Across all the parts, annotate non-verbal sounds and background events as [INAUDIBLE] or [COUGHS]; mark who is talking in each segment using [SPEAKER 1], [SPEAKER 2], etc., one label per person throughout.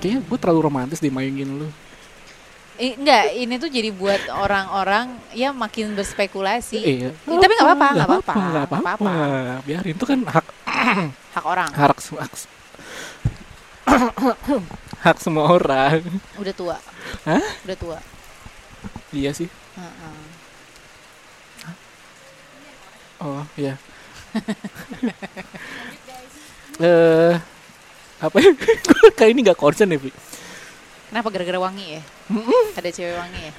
[SPEAKER 1] kayaknya gue terlalu romantis dimainin lu
[SPEAKER 2] Eh, enggak, ini tuh jadi buat orang-orang ya makin berspekulasi.
[SPEAKER 1] iya
[SPEAKER 2] Ih, tapi nggak apa-apa, nggak apa-apa,
[SPEAKER 1] nggak
[SPEAKER 2] nggak
[SPEAKER 1] apa-apa biarin itu kan hak
[SPEAKER 2] Hak orang
[SPEAKER 1] hak se- hak, se- [COUGHS] hak semua orang
[SPEAKER 2] udah tua.
[SPEAKER 1] Hah?
[SPEAKER 2] Udah tua.
[SPEAKER 1] iya sih
[SPEAKER 2] Heeh.
[SPEAKER 1] oh
[SPEAKER 2] [LAUGHS]
[SPEAKER 1] iya eh apa ya [LAUGHS] Gua kayak ini nggak concern ya Bi.
[SPEAKER 2] Kenapa gara-gara wangi ya? Ada cewek wangi ya?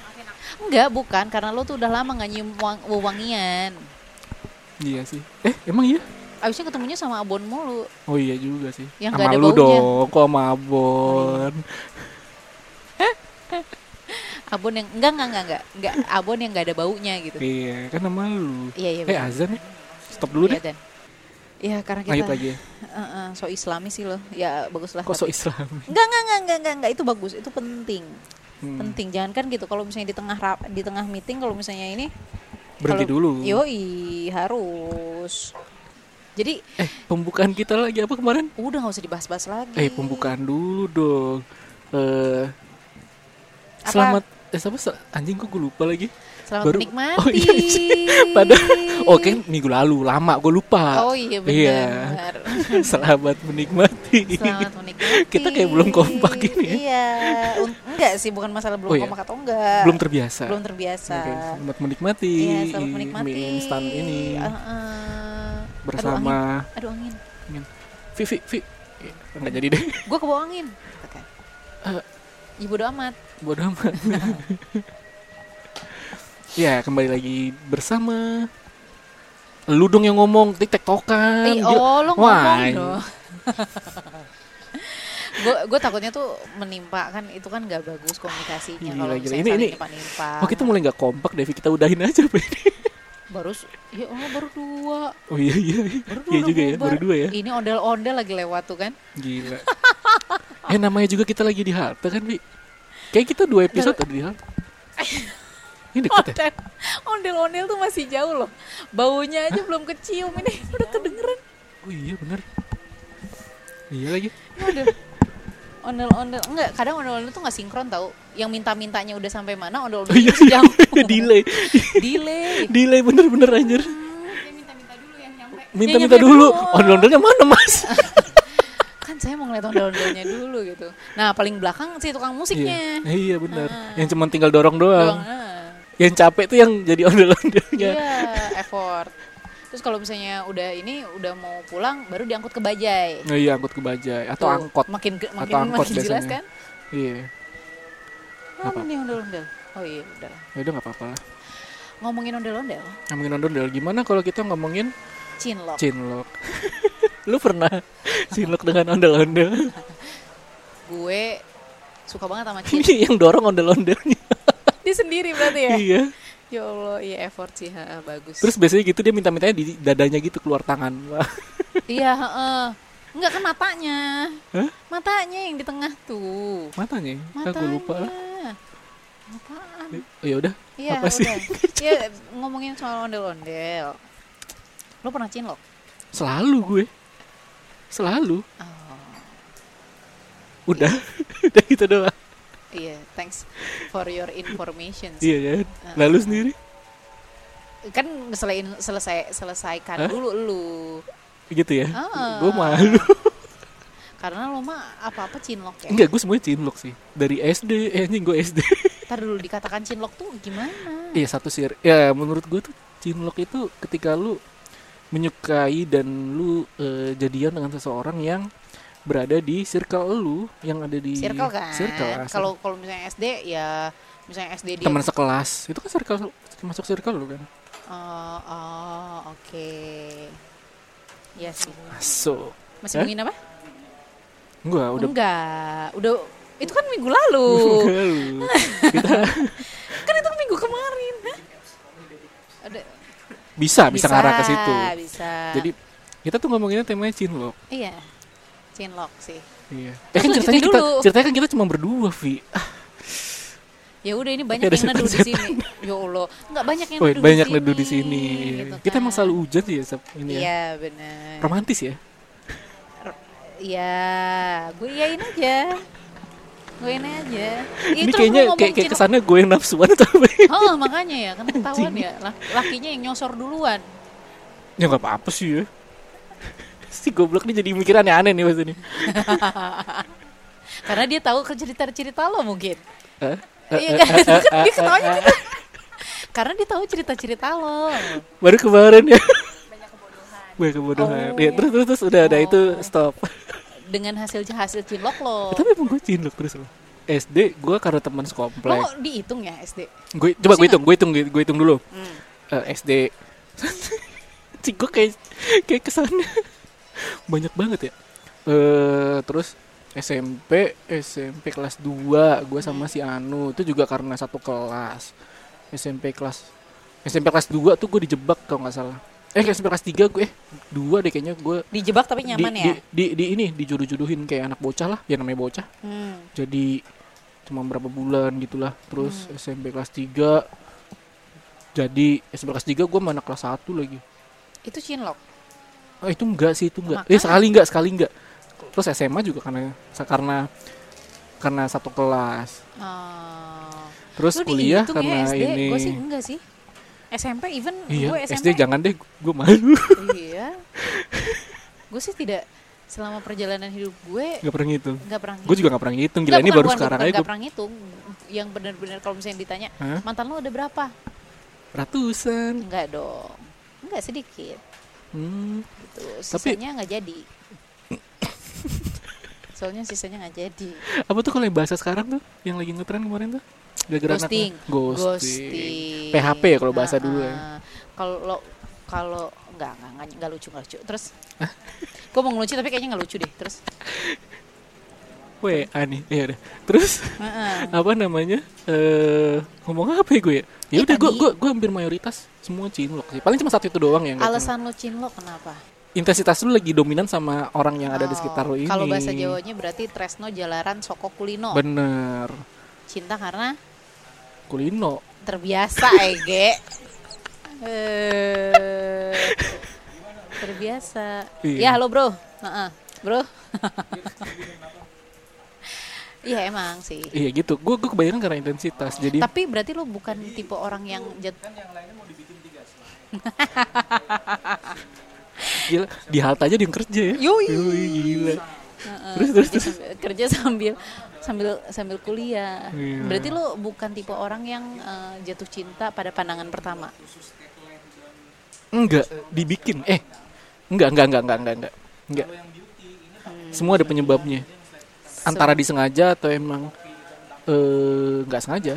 [SPEAKER 2] Enggak, bukan karena lo tuh udah lama nggak nyium wang- wewangian.
[SPEAKER 1] iya sih eh emang iya
[SPEAKER 2] Abisnya ketemunya sama abon mulu.
[SPEAKER 1] oh iya juga sih
[SPEAKER 2] Yang nggak
[SPEAKER 1] sama
[SPEAKER 2] ada
[SPEAKER 1] lu
[SPEAKER 2] baunya. Oh,
[SPEAKER 1] dong kok sama abon
[SPEAKER 2] Abon yang enggak enggak enggak enggak, enggak abon yang enggak ada baunya gitu.
[SPEAKER 1] iya kan sama lu
[SPEAKER 2] Iya iya.
[SPEAKER 1] eh
[SPEAKER 2] benar.
[SPEAKER 1] azan ya stop dulu
[SPEAKER 2] Iya,
[SPEAKER 1] deh
[SPEAKER 2] Dan. Iya, karena kita
[SPEAKER 1] lanjut lagi ya
[SPEAKER 2] Heeh, so islami sih lo. Ya baguslah.
[SPEAKER 1] kok so
[SPEAKER 2] tapi-
[SPEAKER 1] islami
[SPEAKER 2] Enggak, enggak, enggak, enggak, enggak, enggak, itu bagus, itu penting.
[SPEAKER 1] Hmm,
[SPEAKER 2] Penting. Jangan kan gitu kalau misalnya di tengah rap, di tengah meeting kalau misalnya ini
[SPEAKER 1] berhenti dulu
[SPEAKER 2] kalau- Yoi, harus. Jadi
[SPEAKER 1] eh pembukaan kita lagi apa kemarin
[SPEAKER 2] udah nggak usah dibahas-bahas lagi.
[SPEAKER 1] Eh pembukaan dulu dong. Eh
[SPEAKER 2] Apa?
[SPEAKER 1] selamat eh apa se- anjing kok gue lupa lagi.
[SPEAKER 2] Selamat
[SPEAKER 1] baru-
[SPEAKER 2] menikmati.
[SPEAKER 1] Oh, iya sih. [LAUGHS] Padahal oke minggu lalu lama gue lupa.
[SPEAKER 2] Oh iya
[SPEAKER 1] Iya. [LAUGHS]
[SPEAKER 2] benar.
[SPEAKER 1] Selamat menikmati.
[SPEAKER 2] Selamat
[SPEAKER 1] Iya.
[SPEAKER 2] menikmati.
[SPEAKER 1] [LAUGHS] Kita kayak belum kompak ini ya.
[SPEAKER 2] Iya, un- enggak sih bukan masalah belum
[SPEAKER 1] Oh, iya.
[SPEAKER 2] kompak atau enggak.
[SPEAKER 1] Belum terbiasa.
[SPEAKER 2] Belum terbiasa.
[SPEAKER 1] Oke, selamat menikmati.
[SPEAKER 2] Iya, selamat
[SPEAKER 1] Ih,
[SPEAKER 2] menikmati.
[SPEAKER 1] Mie instan ini
[SPEAKER 2] Heeh.
[SPEAKER 1] bersama
[SPEAKER 2] Aduh angin.
[SPEAKER 1] Vivi Vivi. Eh, Enggak jadi deh.
[SPEAKER 2] Gue kebawa angin. Oke.
[SPEAKER 1] Eh.
[SPEAKER 2] Ibu doa amat.
[SPEAKER 1] Bodoh amat. [LAUGHS] ya, kembali lagi bersama lu dong yang ngomong tik tokan
[SPEAKER 2] Eh, oh, lo ngomong [LAUGHS]
[SPEAKER 1] Wah.
[SPEAKER 2] dong. Gue takutnya tuh menimpa kan itu kan gak bagus komunikasinya
[SPEAKER 1] Gila,
[SPEAKER 2] kalau
[SPEAKER 1] gila.
[SPEAKER 2] misalnya
[SPEAKER 1] Ini-
[SPEAKER 2] saling
[SPEAKER 1] ini-
[SPEAKER 2] nimpa-nimpa.
[SPEAKER 1] Oh kita mulai nggak kompak Devi kita udahin aja Pak ini.
[SPEAKER 2] baru s- ya Allah baru dua.
[SPEAKER 1] Oh iya iya iya.
[SPEAKER 2] Baru dua
[SPEAKER 1] Iya
[SPEAKER 2] udah
[SPEAKER 1] juga ya
[SPEAKER 2] bubar.
[SPEAKER 1] baru dua ya.
[SPEAKER 2] Ini ondel-ondel lagi lewat tuh kan.
[SPEAKER 1] Gila. eh namanya juga kita lagi di halte kan Bi. Kayak kita dua episode ada di halte. Ini deket ya.
[SPEAKER 2] Ondel, ondel-ondel tuh masih jauh loh. Baunya aja belum kecium ini [LAUGHS] udah kedengeran.
[SPEAKER 1] Oh iya bener. Iya
[SPEAKER 2] [LAUGHS]
[SPEAKER 1] lagi.
[SPEAKER 2] Ini Ondel. Ondel-ondel enggak, kadang ondel-ondel tuh nggak sinkron tau Yang minta-mintanya udah sampai mana, ondel-ondel
[SPEAKER 1] iya,
[SPEAKER 2] masih jauh.
[SPEAKER 1] delay
[SPEAKER 2] Delay.
[SPEAKER 1] delay bener-bener anjir.
[SPEAKER 3] Dia minta-minta dulu yang nyampe.
[SPEAKER 1] Minta-minta
[SPEAKER 2] Iya, nyampe
[SPEAKER 1] dulu. Oh,
[SPEAKER 2] dulu.
[SPEAKER 1] Ondel-ondelnya mana mas?
[SPEAKER 2] kan saya mau ngeliat ondel-ondelnya dulu gitu. Nah paling belakang si tukang musiknya.
[SPEAKER 1] Iya, iya benar.
[SPEAKER 2] Ah.
[SPEAKER 1] Yang cuma tinggal dorong
[SPEAKER 2] Doang,
[SPEAKER 1] doang.
[SPEAKER 2] ah.
[SPEAKER 1] Yang capek tuh yang jadi [LAUGHS] ondel-ondelnya.
[SPEAKER 2] Iya, effort. Terus kalau misalnya udah ini udah mau pulang baru diangkut ke Bajai.
[SPEAKER 1] Nah, iya angkut ke Bajaj atau
[SPEAKER 2] Tuh,
[SPEAKER 1] angkot.
[SPEAKER 2] Makin ge- makin,
[SPEAKER 1] angkot
[SPEAKER 2] makin jelas
[SPEAKER 1] biasanya.
[SPEAKER 2] kan?
[SPEAKER 1] Iya. Apa?
[SPEAKER 2] Mana nih ondel-ondel? Oh iya, udah. lah.
[SPEAKER 1] Ya udah nggak apa-apa lah.
[SPEAKER 2] Ngomongin ondel-ondel,
[SPEAKER 1] Ngomongin ondel-ondel gimana kalau kita ngomongin
[SPEAKER 2] cinlok.
[SPEAKER 1] cinlok? Lu pernah cinlok dengan ondel-ondel?
[SPEAKER 2] Gue suka banget
[SPEAKER 1] [LAUGHS]
[SPEAKER 2] sama cinlok.
[SPEAKER 1] Ini yang dorong ondel-ondelnya.
[SPEAKER 2] Dia sendiri berarti ya?
[SPEAKER 1] Iya.
[SPEAKER 2] ya Allah, iya effort sih, ha, bagus.
[SPEAKER 1] Terus biasanya gitu dia minta-mintanya di dadanya gitu keluar tangan. Wah,
[SPEAKER 2] Iya, heeh. Enggak kan matanya.
[SPEAKER 1] Hah?
[SPEAKER 2] Matanya yang di tengah tuh.
[SPEAKER 1] Matanya. ya?
[SPEAKER 2] Matanya.
[SPEAKER 1] Aku lupa lah.
[SPEAKER 2] Apaan?
[SPEAKER 1] Oh, ya udah.
[SPEAKER 2] Iya,
[SPEAKER 1] Apa sih? [LAUGHS]
[SPEAKER 2] udah. Iya, ngomongin soal ondel-ondel. Lo pernah cinlok?
[SPEAKER 1] Selalu gue. Selalu.
[SPEAKER 2] Oh,
[SPEAKER 1] Udah. [LAUGHS] udah gitu doang.
[SPEAKER 2] iya, thanks for your information.
[SPEAKER 1] Iya kan? Lalu sendiri
[SPEAKER 2] Kan selain selesai selesaikan
[SPEAKER 1] Hah?
[SPEAKER 2] dulu lu.
[SPEAKER 1] gitu ya.
[SPEAKER 2] Ah.
[SPEAKER 1] Gue malu. [LAUGHS]
[SPEAKER 2] Karena lo mah apa-apa cinlok ya.
[SPEAKER 1] Enggak, gue semuanya cinlok sih. Dari SD, eh anjing gue SD.
[SPEAKER 2] Ntar dulu dikatakan cinlok tuh gimana?
[SPEAKER 1] [LAUGHS] Iya satu sih. Ya menurut gue tuh cinlok itu ketika lu menyukai dan lu eh, jadian dengan seseorang yang berada di circle lu yang ada di
[SPEAKER 2] Circle kan.
[SPEAKER 1] circle asal.
[SPEAKER 2] Kalau kalau misalnya SD ya misalnya SD dia
[SPEAKER 1] teman sekelas itu kan circle masuk circle lu kan
[SPEAKER 2] Oh, oh, oke. Iya sih.
[SPEAKER 1] masuk
[SPEAKER 2] Masih
[SPEAKER 1] Hah?
[SPEAKER 2] ngomongin apa?
[SPEAKER 1] enggak udah
[SPEAKER 2] Enggak. Udah itu kan minggu lalu.
[SPEAKER 1] [LAUGHS] Enggak lu. kita
[SPEAKER 2] kan itu minggu kemarin ada
[SPEAKER 1] bisa Nah, bisa ngarah ke situ
[SPEAKER 2] bisa
[SPEAKER 1] jadi kita tuh ngomonginnya temanya cinlok
[SPEAKER 2] iya cinlok sih
[SPEAKER 1] iya eh kan
[SPEAKER 2] Lanjutin
[SPEAKER 1] ceritanya kita
[SPEAKER 2] dulu.
[SPEAKER 1] ceritanya kan kita cuma berdua Vi Ah,
[SPEAKER 2] ya udah ini banyak
[SPEAKER 1] ada
[SPEAKER 2] yang neduh di
[SPEAKER 1] setan-setan.
[SPEAKER 2] sini ya allah nggak banyak yang
[SPEAKER 1] woi,
[SPEAKER 2] neduh
[SPEAKER 1] banyak
[SPEAKER 2] di sini,
[SPEAKER 1] neduh di sini
[SPEAKER 2] gitu
[SPEAKER 1] kita emang
[SPEAKER 2] kan.
[SPEAKER 1] selalu hujan sih ya Sab, ini ya
[SPEAKER 2] iya benar
[SPEAKER 1] romantis ya
[SPEAKER 2] iya gue iyain aja Gue ini aja. Ya,
[SPEAKER 1] Ini
[SPEAKER 2] Itu
[SPEAKER 1] kayaknya
[SPEAKER 2] aku ngomong
[SPEAKER 1] kayak, kayak
[SPEAKER 2] cilok.
[SPEAKER 1] kesannya gue nafsuan tapi
[SPEAKER 2] Oh, makanya ya, kan ketahuan
[SPEAKER 1] Anjing.
[SPEAKER 2] ya. Lak- Lakinya yang nyosor duluan.
[SPEAKER 1] [LAUGHS] ya nggak apa-apa sih ya. [LAUGHS] si goblok ini jadi mikir aneh-aneh nih mas ini.
[SPEAKER 2] Karena dia tahu cerita-cerita lo mungkin.
[SPEAKER 1] Hah?
[SPEAKER 2] Iya kan? Dia ketawanya gitu. Karena dia tahu cerita-cerita lo.
[SPEAKER 1] Baru kemarin ya. Banyak kebodohan.
[SPEAKER 2] Oh.
[SPEAKER 1] Ya, terus terus, terus udah ada
[SPEAKER 2] Oh.
[SPEAKER 1] itu stop.
[SPEAKER 2] Dengan hasil hasil cilok
[SPEAKER 1] Eh,
[SPEAKER 2] lo.
[SPEAKER 1] Tapi emang gue cinlok terus loh. SD gue karena teman
[SPEAKER 2] Lo
[SPEAKER 1] sekomplek.
[SPEAKER 2] dihitung ya SD?
[SPEAKER 1] Gue coba
[SPEAKER 2] Masih
[SPEAKER 1] gue hitung, gue hitung, gue hitung dulu.
[SPEAKER 2] Hmm.
[SPEAKER 1] Eh, SD. Cik gue kayak kayak kesannya banyak banget ya. Eh terus SMP SMP kelas 2 gue sama si Anu itu juga karena satu kelas. SMP kelas SMP kelas 2 tuh gue dijebak kalau nggak salah. Eh SMP kelas 3 gue eh 2 deh kayaknya gue
[SPEAKER 2] Dijebak tapi
[SPEAKER 1] di,
[SPEAKER 2] nyaman ya?
[SPEAKER 1] di, di, di ini dijodoh-jodohin kayak anak bocah lah, ya namanya bocah.
[SPEAKER 2] Hmm.
[SPEAKER 1] Jadi cuma berapa bulan gitulah. Terus
[SPEAKER 2] Hmm.
[SPEAKER 1] SMP kelas 3 jadi SMP kelas 3 gue mana kelas 1 lagi.
[SPEAKER 2] Itu cinlok.
[SPEAKER 1] Ah itu enggak sih, itu enggak. Eh
[SPEAKER 2] Makanya.
[SPEAKER 1] sekali enggak, sekali enggak. Terus SMA juga karena karena karena satu kelas.
[SPEAKER 2] Oh.
[SPEAKER 1] Terus
[SPEAKER 2] Lu
[SPEAKER 1] kuliah
[SPEAKER 2] dihitung
[SPEAKER 1] karena
[SPEAKER 2] ya, SD?
[SPEAKER 1] ini.
[SPEAKER 2] Gue sih enggak sih. SMP even
[SPEAKER 1] Iya,
[SPEAKER 2] gue SMP.
[SPEAKER 1] SD jangan deh, gue malu. [LAUGHS]
[SPEAKER 2] Iya. gue sih tidak selama perjalanan hidup gue
[SPEAKER 1] Gak pernah ngitung.
[SPEAKER 2] nggak pernah.
[SPEAKER 1] Gue juga gak pernah ngitung, gila ini baru sekarang aja
[SPEAKER 2] Gak
[SPEAKER 1] gue
[SPEAKER 2] pernah ngitung. Yang benar-benar kalau misalnya ditanya
[SPEAKER 1] Hah?
[SPEAKER 2] mantan lo ada berapa?
[SPEAKER 1] ratusan.
[SPEAKER 2] Enggak dong. Enggak sedikit.
[SPEAKER 1] Hmm.
[SPEAKER 2] Gitu. Sisanya nggak jadi. [LAUGHS] Soalnya sisanya nggak jadi.
[SPEAKER 1] Apa tuh kalau yang bahasa sekarang tuh yang lagi ngetren kemarin tuh? Gara-gara anaknya.
[SPEAKER 2] Ghosting.
[SPEAKER 1] Ghosting.
[SPEAKER 2] Ghosting.
[SPEAKER 1] PHP ya kalau bahasa dulu ya.
[SPEAKER 2] Heeh. Kalau kalau enggak enggak enggak, enggak lucu enggak lucu. Terus gue mau ngelucu tapi kayaknya enggak lucu deh. Terus
[SPEAKER 1] Weh, aneh. Ya udah. Terus [LAUGHS]
[SPEAKER 2] heeh.
[SPEAKER 1] apa namanya? Eh, ngomong apa ya gue ya? Ya
[SPEAKER 2] Eh,
[SPEAKER 1] udah gue
[SPEAKER 2] tadi-
[SPEAKER 1] gue gue hampir mayoritas semua cinlok sih. Paling cuma satu itu doang yang nggak
[SPEAKER 2] alasan lo cinlok kenapa?
[SPEAKER 1] cinlok. intensitas lu lagi dominan sama orang yang ada di
[SPEAKER 2] Oh,
[SPEAKER 1] sekitar lu ini.
[SPEAKER 2] Kalau bahasa Jawanya berarti tresno jalaran soko kulino.
[SPEAKER 1] Bener.
[SPEAKER 2] Cinta karena
[SPEAKER 1] Kulino.
[SPEAKER 2] terbiasa Ege. eh terbiasa.
[SPEAKER 1] Iya.
[SPEAKER 2] Ya halo bro. Heeh. Bro. Iya emang sih.
[SPEAKER 1] Iya gitu. Gue gue kebanyakan karena intensitas. Jadi
[SPEAKER 2] Tapi berarti lo bukan tipe orang yang jat
[SPEAKER 1] gila, di halte aja dia yang kerja ya.
[SPEAKER 2] Yoi.
[SPEAKER 1] Yoi, gila.
[SPEAKER 2] Heeh,
[SPEAKER 1] Terus, terus,
[SPEAKER 2] kerja sambil- kerja sambil sambil sambil kuliah.
[SPEAKER 1] Iya.
[SPEAKER 2] Berarti lo bukan tipe orang yang eh, jatuh cinta pada pandangan pertama.
[SPEAKER 1] Enggak, dibikin. Eh. Enggak, enggak, enggak, enggak, enggak, enggak. Enggak. Semua ada penyebabnya. Antara disengaja atau emang eh enggak sengaja.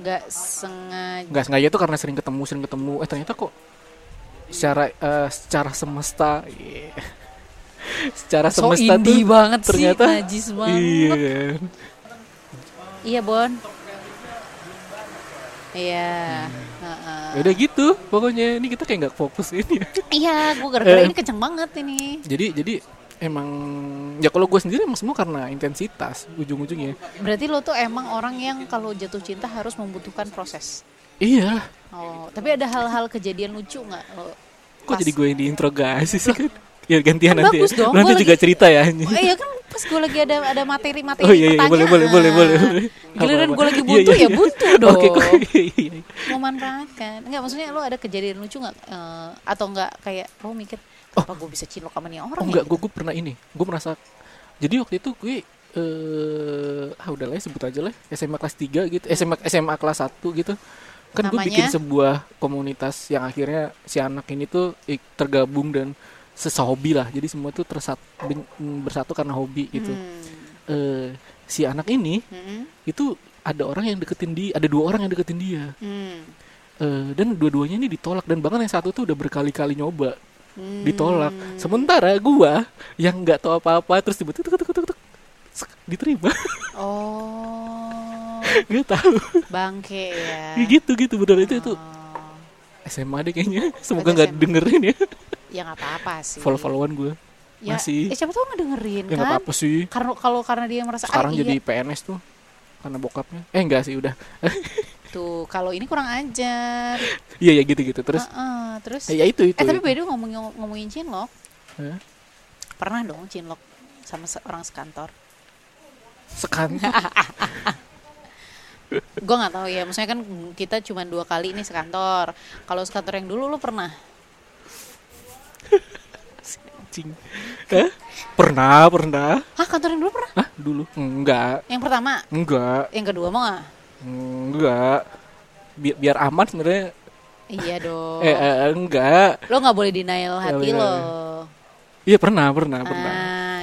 [SPEAKER 2] Nggak sengaja.
[SPEAKER 1] Enggak sengaja itu karena sering ketemu, sering ketemu. Eh ternyata kok secara eh, secara semesta iya. [LAUGHS] secara
[SPEAKER 2] So
[SPEAKER 1] semesta
[SPEAKER 2] indie
[SPEAKER 1] tuh
[SPEAKER 2] banget
[SPEAKER 1] ternyata
[SPEAKER 2] sih, najis banget.
[SPEAKER 1] iya kan?
[SPEAKER 2] Iya, Bon. Iya. heeh.
[SPEAKER 1] Ya udah gitu pokoknya ini kita kayak nggak fokus ini [LAUGHS]
[SPEAKER 2] Iya, gue
[SPEAKER 1] Eh.
[SPEAKER 2] gara-gara ini kenceng banget ini.
[SPEAKER 1] jadi jadi emang ya kalau gue sendiri emang semua karena intensitas ujung-ujungnya
[SPEAKER 2] Berarti lo tuh emang orang yang kalau jatuh cinta harus membutuhkan proses.
[SPEAKER 1] iya
[SPEAKER 2] Oh, tapi ada hal-hal kejadian lucu nggak lo?
[SPEAKER 1] Kok
[SPEAKER 2] pas-
[SPEAKER 1] jadi gue yang diinterogasi sih kan? Ya gantian
[SPEAKER 2] Kan
[SPEAKER 1] nanti. ya.
[SPEAKER 2] bagus dong,
[SPEAKER 1] Lu nanti
[SPEAKER 2] gua
[SPEAKER 1] juga
[SPEAKER 2] lagi-
[SPEAKER 1] cerita ya anjing.
[SPEAKER 2] Oh, iya kan pas gue lagi ada ada materi-materi
[SPEAKER 1] Oh iya, iya boleh boleh
[SPEAKER 2] pertanyaan.
[SPEAKER 1] boleh boleh. boleh.
[SPEAKER 2] Giliran
[SPEAKER 1] Apa-apa.
[SPEAKER 2] gue lagi
[SPEAKER 1] Iya,
[SPEAKER 2] buntu
[SPEAKER 1] iya,
[SPEAKER 2] ya
[SPEAKER 1] iya.
[SPEAKER 2] buntu dong.
[SPEAKER 1] [LAUGHS] [LAUGHS] Oke, kok iya, iya, iya.
[SPEAKER 2] Memanfaatkan. Enggak maksudnya lo ada kejadian lucu nggak Eh, atau enggak kayak lo mikir apa gue bisa cilok sama nih orang
[SPEAKER 1] Oh enggak, gue gue pernah ini. Gue merasa jadi waktu itu gue eh ah udah lah ya, sebut aja lah SMA kelas 3 gitu SMA SMA kelas 1 gitu kan gue
[SPEAKER 2] Namanya?
[SPEAKER 1] bikin sebuah komunitas yang akhirnya si anak ini tuh ik- tergabung dan sesehobi lah jadi semua tuh tersat ben- bersatu karena hobi
[SPEAKER 2] ya?"
[SPEAKER 1] gitu
[SPEAKER 2] Hmm.
[SPEAKER 1] eh si anak ini itu ada orang yang deketin dia, ada dua orang yang deketin dia,
[SPEAKER 2] hmm.
[SPEAKER 1] Eh, dan dua-duanya ini ditolak dan bahkan yang satu tuh udah berkali-kali nyoba
[SPEAKER 2] Hmm.
[SPEAKER 1] ditolak. Sementara gua yang nggak tahu apa-apa terus tiba-tiba tuk, tuk, tuk, tuk, sek, diterima, [LAUGHS]
[SPEAKER 2] Oh,
[SPEAKER 1] nggak tahu,
[SPEAKER 2] bangke ya.
[SPEAKER 1] Ya [LAUGHS] gitu gitu bener itu itu
[SPEAKER 2] Oh,
[SPEAKER 1] SMA deh kayaknya, semoga
[SPEAKER 2] Berarti
[SPEAKER 1] nggak
[SPEAKER 2] SMA.
[SPEAKER 1] dengerin ya
[SPEAKER 2] ya nggak apa-apa sih.
[SPEAKER 1] follow-followan gua,
[SPEAKER 2] Ya,
[SPEAKER 1] masih.
[SPEAKER 2] Eh, siapa tahu ngedengerin
[SPEAKER 1] ya nggak
[SPEAKER 2] kan?
[SPEAKER 1] apa-apa sih.
[SPEAKER 2] Karena kalau karena dia merasa ah,
[SPEAKER 1] Sekarang
[SPEAKER 2] iya,
[SPEAKER 1] jadi PNS tuh karena bokapnya, eh enggak sih udah,
[SPEAKER 2] tuh kalau ini kurang ajar.
[SPEAKER 1] iya ya gitu gitu terus,
[SPEAKER 2] Heeh, terus
[SPEAKER 1] eh, ya itu itu.
[SPEAKER 2] Eh
[SPEAKER 1] itu.
[SPEAKER 2] tapi beda ngomongin ngomongin cinlok.
[SPEAKER 1] Hah?
[SPEAKER 2] Pernah dong cinlok sama se- orang sekantor. [LAUGHS]
[SPEAKER 1] sekantor
[SPEAKER 2] Gue nggak tahu ya, maksudnya kan kita cuma dua kali nih sekantor. Kalau sekantor yang dulu lu pernah?
[SPEAKER 1] cing Hah? pernah pernah
[SPEAKER 2] Hah, kantor yang dulu pernah?
[SPEAKER 1] Hah, dulu enggak
[SPEAKER 2] Yang pertama,
[SPEAKER 1] enggak
[SPEAKER 2] yang kedua mau nggak?
[SPEAKER 1] enggak Bi- biar aman sebenarnya
[SPEAKER 2] Iya dong.
[SPEAKER 1] eh, eh, enggak
[SPEAKER 2] Lo nggak boleh denial hati
[SPEAKER 1] iya.
[SPEAKER 2] lo.
[SPEAKER 1] iya pernah pernah pernah
[SPEAKER 2] Ah,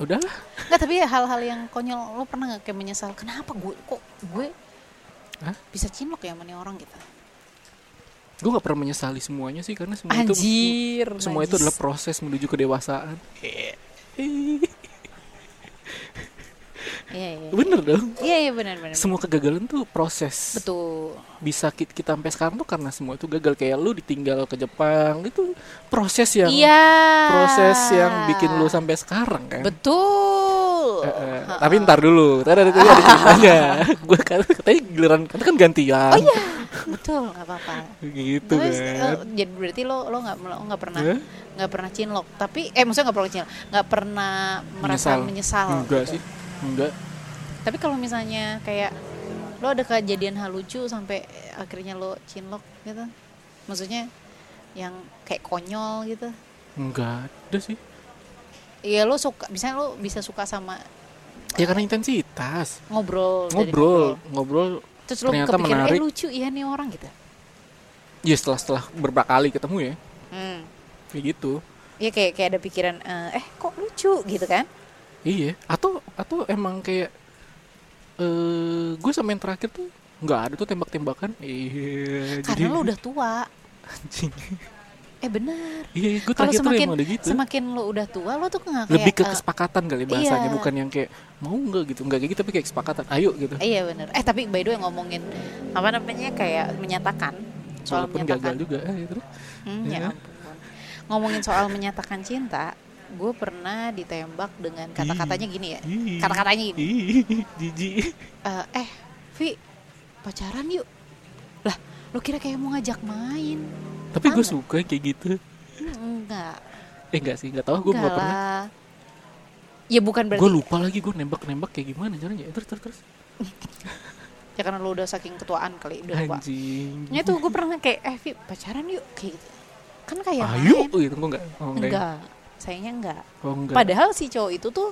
[SPEAKER 1] udahlah
[SPEAKER 2] Nggak, tapi hal-hal yang konyol lo pernah nggak kayak menyesal? Kenapa gue kok gue
[SPEAKER 1] Hah?
[SPEAKER 2] bisa cinlok ya sama nih orang gitu?
[SPEAKER 1] gue nggak pernah menyesali semuanya sih karena semua itu
[SPEAKER 2] Anjir.
[SPEAKER 1] semua itu
[SPEAKER 2] najis.
[SPEAKER 1] adalah proses menuju kedewasaan
[SPEAKER 2] Iya iya.
[SPEAKER 1] bener dong
[SPEAKER 2] Iya iya benar benar.
[SPEAKER 1] semua kegagalan tuh proses
[SPEAKER 2] Betul.
[SPEAKER 1] bisa ki- kita sampai sekarang tuh karena semua itu gagal kayak lu ditinggal ke Jepang itu proses yang
[SPEAKER 2] Iya.
[SPEAKER 1] proses yang bikin lu sampai sekarang kan
[SPEAKER 2] Betul.
[SPEAKER 1] Eh, eh, tapi ntar dulu tadi ada tadi ada
[SPEAKER 2] [LAUGHS]
[SPEAKER 1] ceritanya gue kan katanya giliran katanya kan
[SPEAKER 2] Oh
[SPEAKER 1] gantian
[SPEAKER 2] iya, Betul nggak apa-apa.
[SPEAKER 1] gitu
[SPEAKER 2] Terus
[SPEAKER 1] kan
[SPEAKER 2] eh, jadi berarti lo lo nggak lo nggak pernah
[SPEAKER 1] Hah?
[SPEAKER 2] nggak pernah cinlok tapi eh maksudnya nggak pernah cinlok nggak pernah merasa menyesal,
[SPEAKER 1] enggak
[SPEAKER 2] gitu.
[SPEAKER 1] sih enggak
[SPEAKER 2] Tapi kalau misalnya kayak lo ada kejadian hal lucu sampai akhirnya lo cinlok gitu. Maksudnya yang kayak konyol gitu.
[SPEAKER 1] enggak ada sih
[SPEAKER 2] Iya lo suka, misalnya lo bisa suka sama
[SPEAKER 1] ya karena intensitas
[SPEAKER 2] ngobrol. dari
[SPEAKER 1] ngobrol
[SPEAKER 2] gitu.
[SPEAKER 1] ngobrol
[SPEAKER 2] Terus lo
[SPEAKER 1] Ternyata
[SPEAKER 2] kepikiran,
[SPEAKER 1] menarik.
[SPEAKER 2] eh lucu ya nih orang gitu.
[SPEAKER 1] ya setelah setelah beberapa kali ketemu ya
[SPEAKER 2] Hmm.
[SPEAKER 1] kayak gitu
[SPEAKER 2] Iya kayak kayak ada pikiran eh eh, kok lucu gitu kan.
[SPEAKER 1] Iya, atau atau emang kayak eh gue sama yang terakhir tuh nggak ada tuh tembak-tembakan. Iya,
[SPEAKER 2] Karena lo udah tua.
[SPEAKER 1] anjing.
[SPEAKER 2] Eh benar.
[SPEAKER 1] Iya, gue
[SPEAKER 2] Kalau
[SPEAKER 1] terakhir tuh
[SPEAKER 2] semakin
[SPEAKER 1] emang ada gitu.
[SPEAKER 2] semakin lo udah tua lo tuh nggak kayak
[SPEAKER 1] Lebih ke
[SPEAKER 2] eh,
[SPEAKER 1] kesepakatan kali bahasanya,
[SPEAKER 2] iya.
[SPEAKER 1] bukan yang kayak mau nggak gitu, nggak kayak gitu tapi kayak kesepakatan. Ayo gitu.
[SPEAKER 2] Iya bener. Eh tapi by the way ngomongin apa namanya kayak menyatakan soal
[SPEAKER 1] Walaupun gagal
[SPEAKER 2] menyatakan.
[SPEAKER 1] juga. Eh, ya terus.
[SPEAKER 2] Hmm,
[SPEAKER 1] Ya.
[SPEAKER 2] ya ampun. Ngomongin soal menyatakan cinta, gue pernah ditembak dengan kata-katanya gini ya.
[SPEAKER 1] Ih,
[SPEAKER 2] Kata-katanya gini.
[SPEAKER 1] ih, Jijik.
[SPEAKER 2] "Eh, eh, Vi, pacaran yuk. Lah, lu kira kayak mau ngajak main?
[SPEAKER 1] Tapi gue
[SPEAKER 2] Banget.
[SPEAKER 1] suka yang kayak gitu.
[SPEAKER 2] Hmm, Enggak.
[SPEAKER 1] Eh enggak sih, enggak tahu gue
[SPEAKER 2] Enggak
[SPEAKER 1] nggak pernah.
[SPEAKER 2] lah. Ya bukan
[SPEAKER 1] Gue
[SPEAKER 2] berarti
[SPEAKER 1] lupa lagi gue nembak-nembak kayak gimana caranya. Eh, Terus terus terus.
[SPEAKER 2] ya karena lu udah saking ketuaan kali udah lupa.
[SPEAKER 1] Anjing.
[SPEAKER 2] Ya tuh gue pernah kayak eh Vi, pacaran yuk kayak gitu. Kan kayak
[SPEAKER 1] Ayo,
[SPEAKER 2] main.
[SPEAKER 1] gitu gue enggak. Oh, enggak. ya?
[SPEAKER 2] Enggak. Sayangnya enggak.
[SPEAKER 1] Oh, enggak.
[SPEAKER 2] Padahal si cowok itu tuh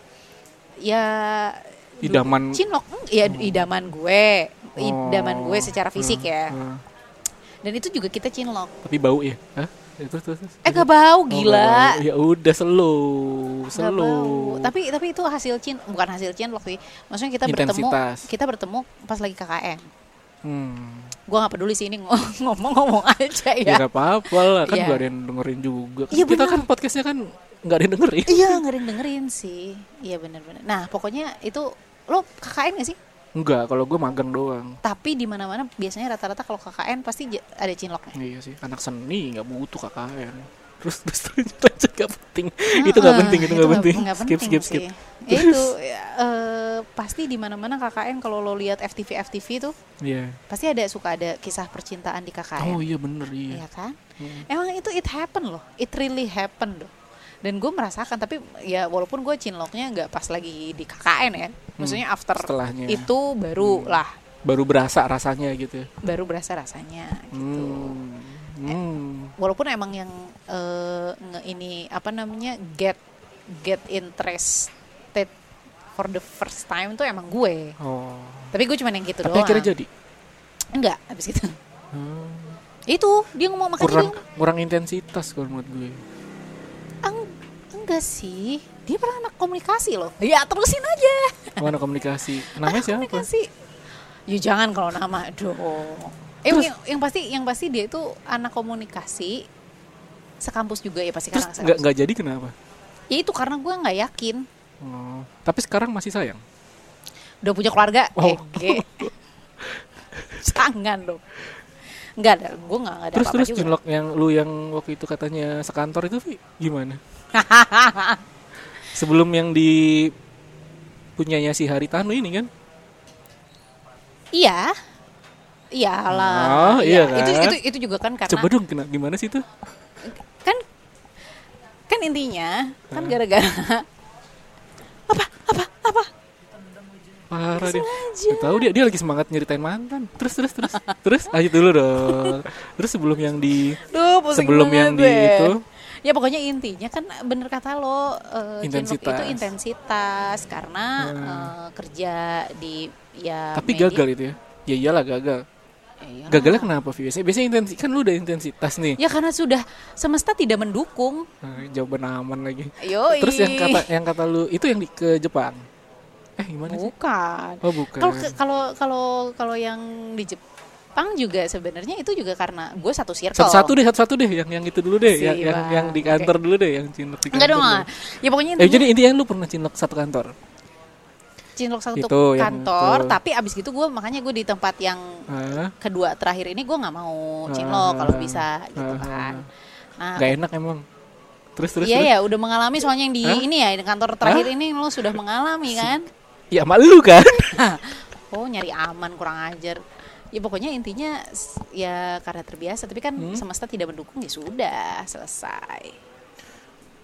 [SPEAKER 2] ya dulu
[SPEAKER 1] Idaman-
[SPEAKER 2] Cinlok ya
[SPEAKER 1] Oh.
[SPEAKER 2] idaman gue, idaman
[SPEAKER 1] Oh.
[SPEAKER 2] gue secara fisik
[SPEAKER 1] Hmm,
[SPEAKER 2] ya.
[SPEAKER 1] hmm.
[SPEAKER 2] Dan itu juga kita cinlok.
[SPEAKER 1] Tapi bau ya? Hah? Ya, terus, terus, terus.
[SPEAKER 2] Eh gak bau
[SPEAKER 1] Oh,
[SPEAKER 2] gila.
[SPEAKER 1] nggak bau. Iya, Ya udah slow,
[SPEAKER 2] Nggak
[SPEAKER 1] slow.
[SPEAKER 2] Tapi tapi itu hasil cin bukan hasil cinlok sih. Maksudnya kita
[SPEAKER 1] Intensitas.
[SPEAKER 2] bertemu kita bertemu pas lagi KKN.
[SPEAKER 1] hmm.
[SPEAKER 2] Gue nggak peduli sih ini ngo- [LAUGHS] ngomong-ngomong aja
[SPEAKER 1] Ya
[SPEAKER 2] ya.
[SPEAKER 1] nggak apa-apa lah, kan
[SPEAKER 2] Iya.
[SPEAKER 1] nggak ada yang dengerin juga. Kan
[SPEAKER 2] Iya,
[SPEAKER 1] kita
[SPEAKER 2] benar.
[SPEAKER 1] kan podcastnya kan nggak ada yang dengerin.
[SPEAKER 2] Iya nggak ada yang dengerin sih. Iya benar-benar. Nah pokoknya itu lo KKN gak sih?
[SPEAKER 1] Enggak, kalau gue magang doang.
[SPEAKER 2] Tapi di mana-mana biasanya rata-rata kalau KKN pasti j- ada cinloknya.
[SPEAKER 1] Iya sih, anak seni nggak butuh KKN. Terus [LAUGHS] terus terus lanjut nggak penting. [LAUGHS] itu nggak
[SPEAKER 2] Heeh,
[SPEAKER 1] penting, itu nggak penting.
[SPEAKER 2] Ah, nggak
[SPEAKER 1] skip
[SPEAKER 2] penting
[SPEAKER 1] skip skip.
[SPEAKER 2] sih. Ya
[SPEAKER 1] [LAUGHS]
[SPEAKER 2] itu ya, eh, pasti di mana-mana KKN kalau lo lihat FTV FTV tuh
[SPEAKER 1] Iya.
[SPEAKER 2] pasti ada suka ada kisah percintaan di KKN.
[SPEAKER 1] Oh iya bener iya.
[SPEAKER 2] Iya kan?
[SPEAKER 1] Hmm.
[SPEAKER 2] Emang itu it happen loh. It really happen loh. Dan gue merasakan tapi ya walaupun gue cinloknya nggak pas lagi di KKN ya. Maksudnya after
[SPEAKER 1] Hmm. setelahnya. Hmm.
[SPEAKER 2] itu baru lah
[SPEAKER 1] Baru berasa rasanya gitu.
[SPEAKER 2] baru berasa rasanya gitu.
[SPEAKER 1] Hmm.
[SPEAKER 2] Eh.
[SPEAKER 1] Hmm.
[SPEAKER 2] walaupun emang yang eh, nge ini apa namanya get get interested for the first time tuh emang gue
[SPEAKER 1] Oh.
[SPEAKER 2] tapi gue cuman yang gitu
[SPEAKER 1] Tapi
[SPEAKER 2] doang
[SPEAKER 1] akhirnya jadi.
[SPEAKER 2] enggak habis gitu
[SPEAKER 1] Hmm.
[SPEAKER 2] itu dia ngomong makanya
[SPEAKER 1] kurang
[SPEAKER 2] dia ngomong,
[SPEAKER 1] kurang intensitas kalau menurut gue
[SPEAKER 2] "Eng- enggak sih dia pernah anak komunikasi loh ya terusin aja
[SPEAKER 1] mana
[SPEAKER 2] [LAUGHS]
[SPEAKER 1] komunikasi Iya, namanya siapa
[SPEAKER 2] komunikasi ya jangan kalau nama aduh Eh,
[SPEAKER 1] Terus-
[SPEAKER 2] yang, yang pasti yang pasti dia itu anak komunikasi sekampus juga ya pasti
[SPEAKER 1] terus
[SPEAKER 2] karena
[SPEAKER 1] nggak
[SPEAKER 2] sekampus.
[SPEAKER 1] nggak jadi kenapa
[SPEAKER 2] ya itu karena gue nggak yakin
[SPEAKER 1] oh. tapi sekarang masih sayang
[SPEAKER 2] udah punya keluarga
[SPEAKER 1] Oh.
[SPEAKER 2] Ege. [LAUGHS] tangan dong Enggak ada, gue enggak ada
[SPEAKER 1] terus
[SPEAKER 2] apa-apa
[SPEAKER 1] terus
[SPEAKER 2] juga.
[SPEAKER 1] junlok yang lu yang waktu itu katanya sekantor itu Vi, gimana
[SPEAKER 2] [LAUGHS]
[SPEAKER 1] sebelum yang di punyanya si Haritanu ini kan
[SPEAKER 2] Iya.
[SPEAKER 1] Oh,
[SPEAKER 2] Iyalah.
[SPEAKER 1] iya
[SPEAKER 2] Itu
[SPEAKER 1] kan?
[SPEAKER 2] itu itu juga kan karena
[SPEAKER 1] coba dong kena gimana sih tuh
[SPEAKER 2] kan kan intinya kan gara-gara apa apa apa
[SPEAKER 1] Parah dia. Nggak tahu dia dia lagi semangat nyeritain mantan. Terus terus terus. terus lanjut dulu dong. Terus sebelum yang di
[SPEAKER 2] [LAUGHS] Duh, pusing
[SPEAKER 1] sebelum
[SPEAKER 2] banget
[SPEAKER 1] yang di
[SPEAKER 2] gue.
[SPEAKER 1] itu
[SPEAKER 2] Ya pokoknya intinya kan bener kata lo eh, Chinlock
[SPEAKER 1] Intensitas. Hmm.
[SPEAKER 2] itu intensitas karena eh, kerja di ya
[SPEAKER 1] tapi
[SPEAKER 2] media-
[SPEAKER 1] gagal itu ya. Ya iyalah gagal.
[SPEAKER 2] Iya.
[SPEAKER 1] Gagalnya kenapa Vi? Biasanya, biasanya intensi kan lu udah intensitas nih.
[SPEAKER 2] Ya karena sudah semesta tidak mendukung.
[SPEAKER 1] Nah, jawaban aman lagi.
[SPEAKER 2] Yoi.
[SPEAKER 1] Terus yang kata yang kata lu itu yang di, ke Jepang. Eh gimana sih?
[SPEAKER 2] bukan.
[SPEAKER 1] Oh bukan.
[SPEAKER 2] Kalau ke- kalau kalau kalau yang di Jepang juga sebenarnya itu juga karena gue satu circle.
[SPEAKER 1] Satu-satu deh, satu-satu deh yang yang itu dulu deh,
[SPEAKER 2] Si
[SPEAKER 1] yang, yang
[SPEAKER 2] Bang.
[SPEAKER 1] yang di kantor dulu deh, yang cinlok di kantor.
[SPEAKER 2] Enggak dong.
[SPEAKER 1] dulu.
[SPEAKER 2] ah. Ya pokoknya
[SPEAKER 1] Eh
[SPEAKER 2] intinya
[SPEAKER 1] jadi intinya lu pernah cinlok satu kantor.
[SPEAKER 2] cinlok satu
[SPEAKER 1] Itu, yang
[SPEAKER 2] kantor,
[SPEAKER 1] itu.
[SPEAKER 2] tapi abis gitu gue makanya gue di tempat yang
[SPEAKER 1] Heeh.
[SPEAKER 2] kedua terakhir ini gue nggak mau
[SPEAKER 1] Ah,
[SPEAKER 2] cinlok kalau bisa gitu
[SPEAKER 1] ah,
[SPEAKER 2] kan. Nah,
[SPEAKER 1] Gak enak emang. Terus terus.
[SPEAKER 2] iya
[SPEAKER 1] terus.
[SPEAKER 2] ya udah mengalami soalnya yang di
[SPEAKER 1] Hah?
[SPEAKER 2] ini ya di kantor terakhir ini lo sudah mengalami kan.
[SPEAKER 1] Ya sama lu kan.
[SPEAKER 2] [LAUGHS] Oh nyari aman kurang ajar. Ya pokoknya intinya s- ya karena terbiasa, tapi kan
[SPEAKER 1] Hmm.
[SPEAKER 2] semesta tidak mendukung ya sudah selesai.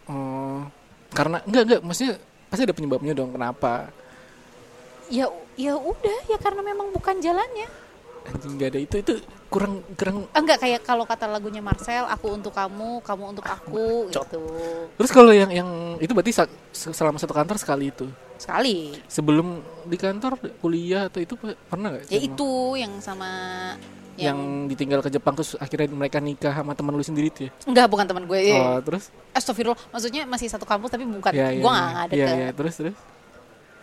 [SPEAKER 1] Oh, karena enggak enggak maksudnya pasti ada penyebabnya dong kenapa.
[SPEAKER 2] Ya u- ya udah ya karena memang bukan jalannya.
[SPEAKER 1] Anjing gak ada itu itu kurang kurang.
[SPEAKER 2] Ah, Enggak kayak kalau kata lagunya Marcel, aku untuk kamu, kamu untuk
[SPEAKER 1] [LAUGHS]
[SPEAKER 2] aku
[SPEAKER 1] bacot.
[SPEAKER 2] gitu.
[SPEAKER 1] Terus kalau yang yang itu berarti sa- se- selama satu kantor sekali itu.
[SPEAKER 2] Sekali.
[SPEAKER 1] Sebelum di kantor kuliah atau itu pe- pernah gak?
[SPEAKER 2] Ya itu yang sama
[SPEAKER 1] yang
[SPEAKER 2] yang,
[SPEAKER 1] ditinggal ke Jepang terus akhirnya mereka nikah sama teman lu sendiri tuh ya.
[SPEAKER 2] enggak bukan teman gue.
[SPEAKER 1] Oh, terus
[SPEAKER 2] Astagfirullah, maksudnya masih satu kampus tapi bukan
[SPEAKER 1] ya ya.
[SPEAKER 2] gue nggak
[SPEAKER 1] ya.
[SPEAKER 2] ada
[SPEAKER 1] ya,
[SPEAKER 2] ke.
[SPEAKER 1] ya, terus terus.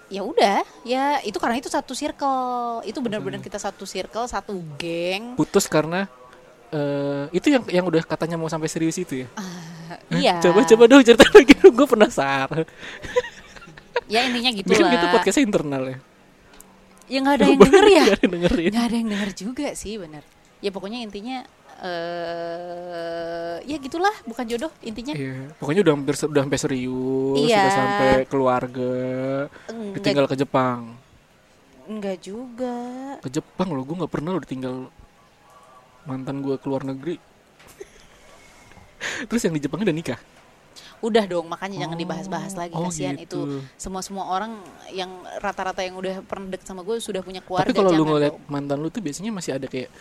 [SPEAKER 2] Ya udah, ya itu karena itu satu circle. Itu
[SPEAKER 1] Hmm.
[SPEAKER 2] benar-benar kita satu circle, satu geng.
[SPEAKER 1] Putus karena eh itu yang yang udah katanya mau sampai serius itu ya.
[SPEAKER 2] Iya.
[SPEAKER 1] Coba coba dong cerita [LAUGHS] lagi dong gue penasaran.
[SPEAKER 2] Ya intinya gitu
[SPEAKER 1] Mungkin
[SPEAKER 2] lah.
[SPEAKER 1] itu podcastnya internal ya.
[SPEAKER 2] Ya
[SPEAKER 1] [LAUGHS]
[SPEAKER 2] nggak ada yang denger ya.
[SPEAKER 1] Nggak ada yang dengerin.
[SPEAKER 2] Nggak ada yang denger juga sih benar. Ya pokoknya intinya eh ya gitulah, bukan jodoh intinya.
[SPEAKER 1] Iya, pokoknya udah hampir udah sampai serius,
[SPEAKER 2] Iya.
[SPEAKER 1] udah sampai keluarga,
[SPEAKER 2] Enggak,
[SPEAKER 1] ditinggal ke Jepang.
[SPEAKER 2] enggak juga.
[SPEAKER 1] Ke Jepang loh, gue nggak pernah loh ditinggal mantan gue keluar negeri. [LAUGHS] Terus yang di Jepang udah nikah.
[SPEAKER 2] Udah dong, makanya
[SPEAKER 1] Oh,
[SPEAKER 2] jangan dibahas-bahas lagi
[SPEAKER 1] oh
[SPEAKER 2] kasihan
[SPEAKER 1] gitu.
[SPEAKER 2] itu. Semua-semua orang yang rata-rata yang udah pernah deket sama gue sudah punya keluarga.
[SPEAKER 1] Tapi kalau lu
[SPEAKER 2] jangan
[SPEAKER 1] ngeliat
[SPEAKER 2] dong.
[SPEAKER 1] mantan lu tuh biasanya masih ada kayak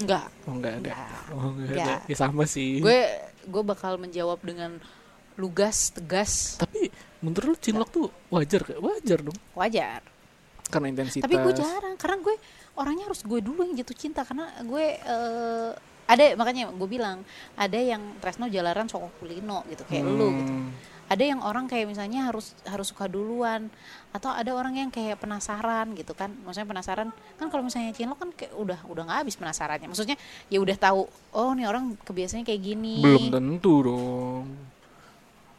[SPEAKER 2] enggak.
[SPEAKER 1] oh nggak ada.
[SPEAKER 2] Nggak.
[SPEAKER 1] Oh nggak ada.
[SPEAKER 2] Nggak.
[SPEAKER 1] Ya sama sih.
[SPEAKER 2] Gue gue bakal menjawab dengan lugas, tegas,
[SPEAKER 1] Tapi menurut lu cinlok tuh wajar kayak wajar dong
[SPEAKER 2] wajar.
[SPEAKER 1] karena intensitas.
[SPEAKER 2] Tapi gue jarang karena gue orangnya harus gue dulu yang jatuh cinta karena gue eh, ada makanya gue bilang ada yang Tresno jalaran soko kulino gitu kayak lu gitu.
[SPEAKER 1] Hmm.
[SPEAKER 2] Ada yang orang kayak misalnya harus harus suka duluan atau ada orang yang kayak penasaran gitu kan. Maksudnya penasaran kan kalau misalnya cinlok kan kayak udah udah nggak habis penasarannya. Maksudnya ya udah tahu oh nih orang kebiasaannya kayak gini.
[SPEAKER 1] Belum tentu dong.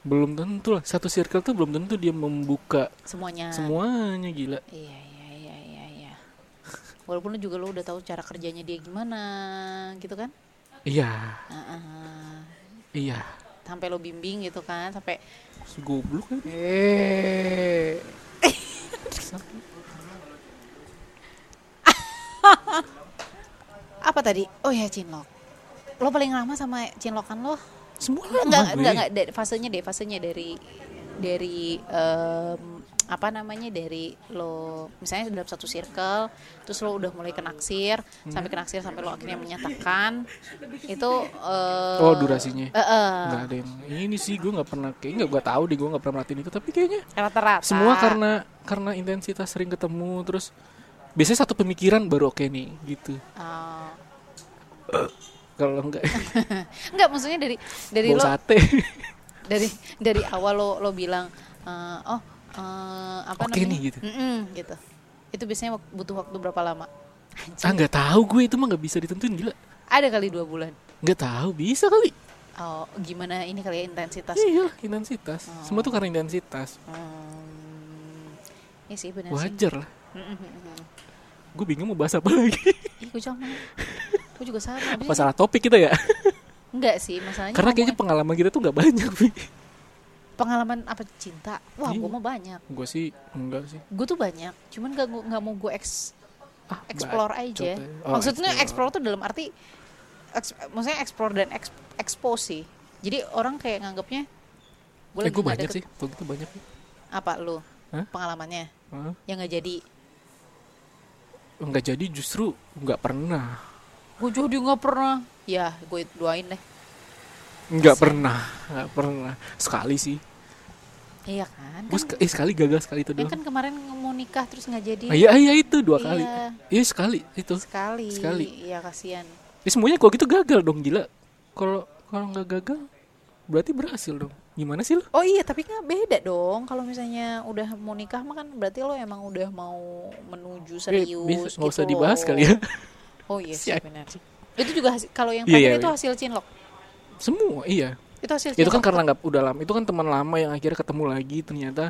[SPEAKER 1] Belum tentu lah. Satu circle tuh belum tentu dia membuka
[SPEAKER 2] semuanya.
[SPEAKER 1] semuanya gila.
[SPEAKER 2] Iya iya iya iya iya. Walaupun lu juga lu udah tahu cara kerjanya dia gimana gitu kan.
[SPEAKER 1] Iya,
[SPEAKER 2] Heeh.
[SPEAKER 1] iya.
[SPEAKER 2] sampai lo bimbing gitu kan sampai
[SPEAKER 1] Si Goblok kan.
[SPEAKER 2] apa tadi oh ya cinlok lo paling lama sama cinlokan lo
[SPEAKER 1] Semua lama
[SPEAKER 2] enggak
[SPEAKER 1] gue.
[SPEAKER 2] enggak enggak dari fasenya deh fasenya dari dari em, apa namanya dari lo misalnya dalam satu circle terus lo udah mulai kenaksir
[SPEAKER 1] Hmm.
[SPEAKER 2] sampai kenaksir sampai lo akhirnya menyatakan itu eh,
[SPEAKER 1] Oh, durasinya.
[SPEAKER 2] eh, eh,
[SPEAKER 1] Nggak ada yang ini sih gue nggak pernah kayak nggak gue tahu deh gue nggak pernah merhatiin itu tapi kayaknya
[SPEAKER 2] rata-rata
[SPEAKER 1] semua karena karena intensitas sering ketemu terus biasanya satu pemikiran baru oke nih gitu
[SPEAKER 2] Oh. [LAUGHS]
[SPEAKER 1] kalau enggak
[SPEAKER 2] enggak maksudnya dari
[SPEAKER 1] [LAUGHS]
[SPEAKER 2] dari
[SPEAKER 1] bau
[SPEAKER 2] lo
[SPEAKER 1] sate
[SPEAKER 2] dari dari awal lo lo bilang eh, oh eh, apa
[SPEAKER 1] Oke
[SPEAKER 2] namanya
[SPEAKER 1] nih, gitu.
[SPEAKER 2] Mm-mm, gitu itu biasanya wak- butuh waktu berapa lama
[SPEAKER 1] ah nggak tahu gue itu mah nggak bisa ditentuin gila
[SPEAKER 2] ada kali dua bulan
[SPEAKER 1] nggak tahu bisa kali
[SPEAKER 2] oh gimana ini kali ya intensitas Oh.
[SPEAKER 1] iya intensitas semua tuh karena intensitas
[SPEAKER 2] Hmm, iya sih benar sih
[SPEAKER 1] wajar lah
[SPEAKER 2] Mm-mm-mm.
[SPEAKER 1] gue bingung mau bahas apa lagi
[SPEAKER 2] [LAUGHS] Ih, gue sama gue juga sama apa sih?
[SPEAKER 1] masalah topik kita ya
[SPEAKER 2] enggak sih masalahnya
[SPEAKER 1] karena kayaknya
[SPEAKER 2] ngomongin
[SPEAKER 1] pengalaman kita tuh nggak banyak
[SPEAKER 2] pengalaman apa cinta wah
[SPEAKER 1] Iya.
[SPEAKER 2] gue mau banyak
[SPEAKER 1] gue sih enggak sih
[SPEAKER 2] gue tuh banyak cuman gak gua- nggak mau gue eks
[SPEAKER 1] ah,
[SPEAKER 2] explore
[SPEAKER 1] bacot ya.
[SPEAKER 2] aja.
[SPEAKER 1] Oh,
[SPEAKER 2] Maksudnya explore. tuh dalam arti eks- maksudnya explore dan eks- expose sih. Jadi orang kayak nganggapnya gua
[SPEAKER 1] Eh,
[SPEAKER 2] lagi
[SPEAKER 1] gue
[SPEAKER 2] nggak
[SPEAKER 1] banyak
[SPEAKER 2] deket-
[SPEAKER 1] sih, waktu itu banyak.
[SPEAKER 2] Apa lu?
[SPEAKER 1] Hah?
[SPEAKER 2] Pengalamannya
[SPEAKER 1] Hah?
[SPEAKER 2] yang nggak jadi.
[SPEAKER 1] nggak jadi justru nggak pernah
[SPEAKER 2] Gue jadi nggak pernah. Ya, gue doain deh.
[SPEAKER 1] nggak pernah nggak pernah sekali sih
[SPEAKER 2] Iya kan?
[SPEAKER 1] gue sek- eh, sekali gagal sekali itu
[SPEAKER 2] Kan,
[SPEAKER 1] doang
[SPEAKER 2] kan kemarin mau nikah terus nggak jadi.
[SPEAKER 1] Ah, iya iya itu dua kali
[SPEAKER 2] Iya.
[SPEAKER 1] iya sekali itu
[SPEAKER 2] Sekali.
[SPEAKER 1] Sekali.
[SPEAKER 2] Iya, kasihan.
[SPEAKER 1] Eh, semuanya kalau gitu gagal dong gila kalau kalau nggak gagal berarti berhasil dong gimana sih lo
[SPEAKER 2] Oh iya, tapi nggak beda dong. Kalau misalnya udah mau nikah mah kan berarti lo emang udah mau
[SPEAKER 1] Eh,
[SPEAKER 2] menuju serius
[SPEAKER 1] bisa-
[SPEAKER 2] gitu.
[SPEAKER 1] nggak usah dibahas
[SPEAKER 2] loh.
[SPEAKER 1] kali ya
[SPEAKER 2] Oh iya, sih,
[SPEAKER 1] Si-
[SPEAKER 2] benar. Itu juga hasil- kalau yang
[SPEAKER 1] Iya,
[SPEAKER 2] terakhir
[SPEAKER 1] iya,
[SPEAKER 2] itu
[SPEAKER 1] iya.
[SPEAKER 2] hasil cinlok.
[SPEAKER 1] [LAUGHS] semua iya
[SPEAKER 2] Itu hasil
[SPEAKER 1] itu kan
[SPEAKER 2] cinlok.
[SPEAKER 1] karena nggak udah lama itu kan teman lama yang akhirnya ketemu lagi ternyata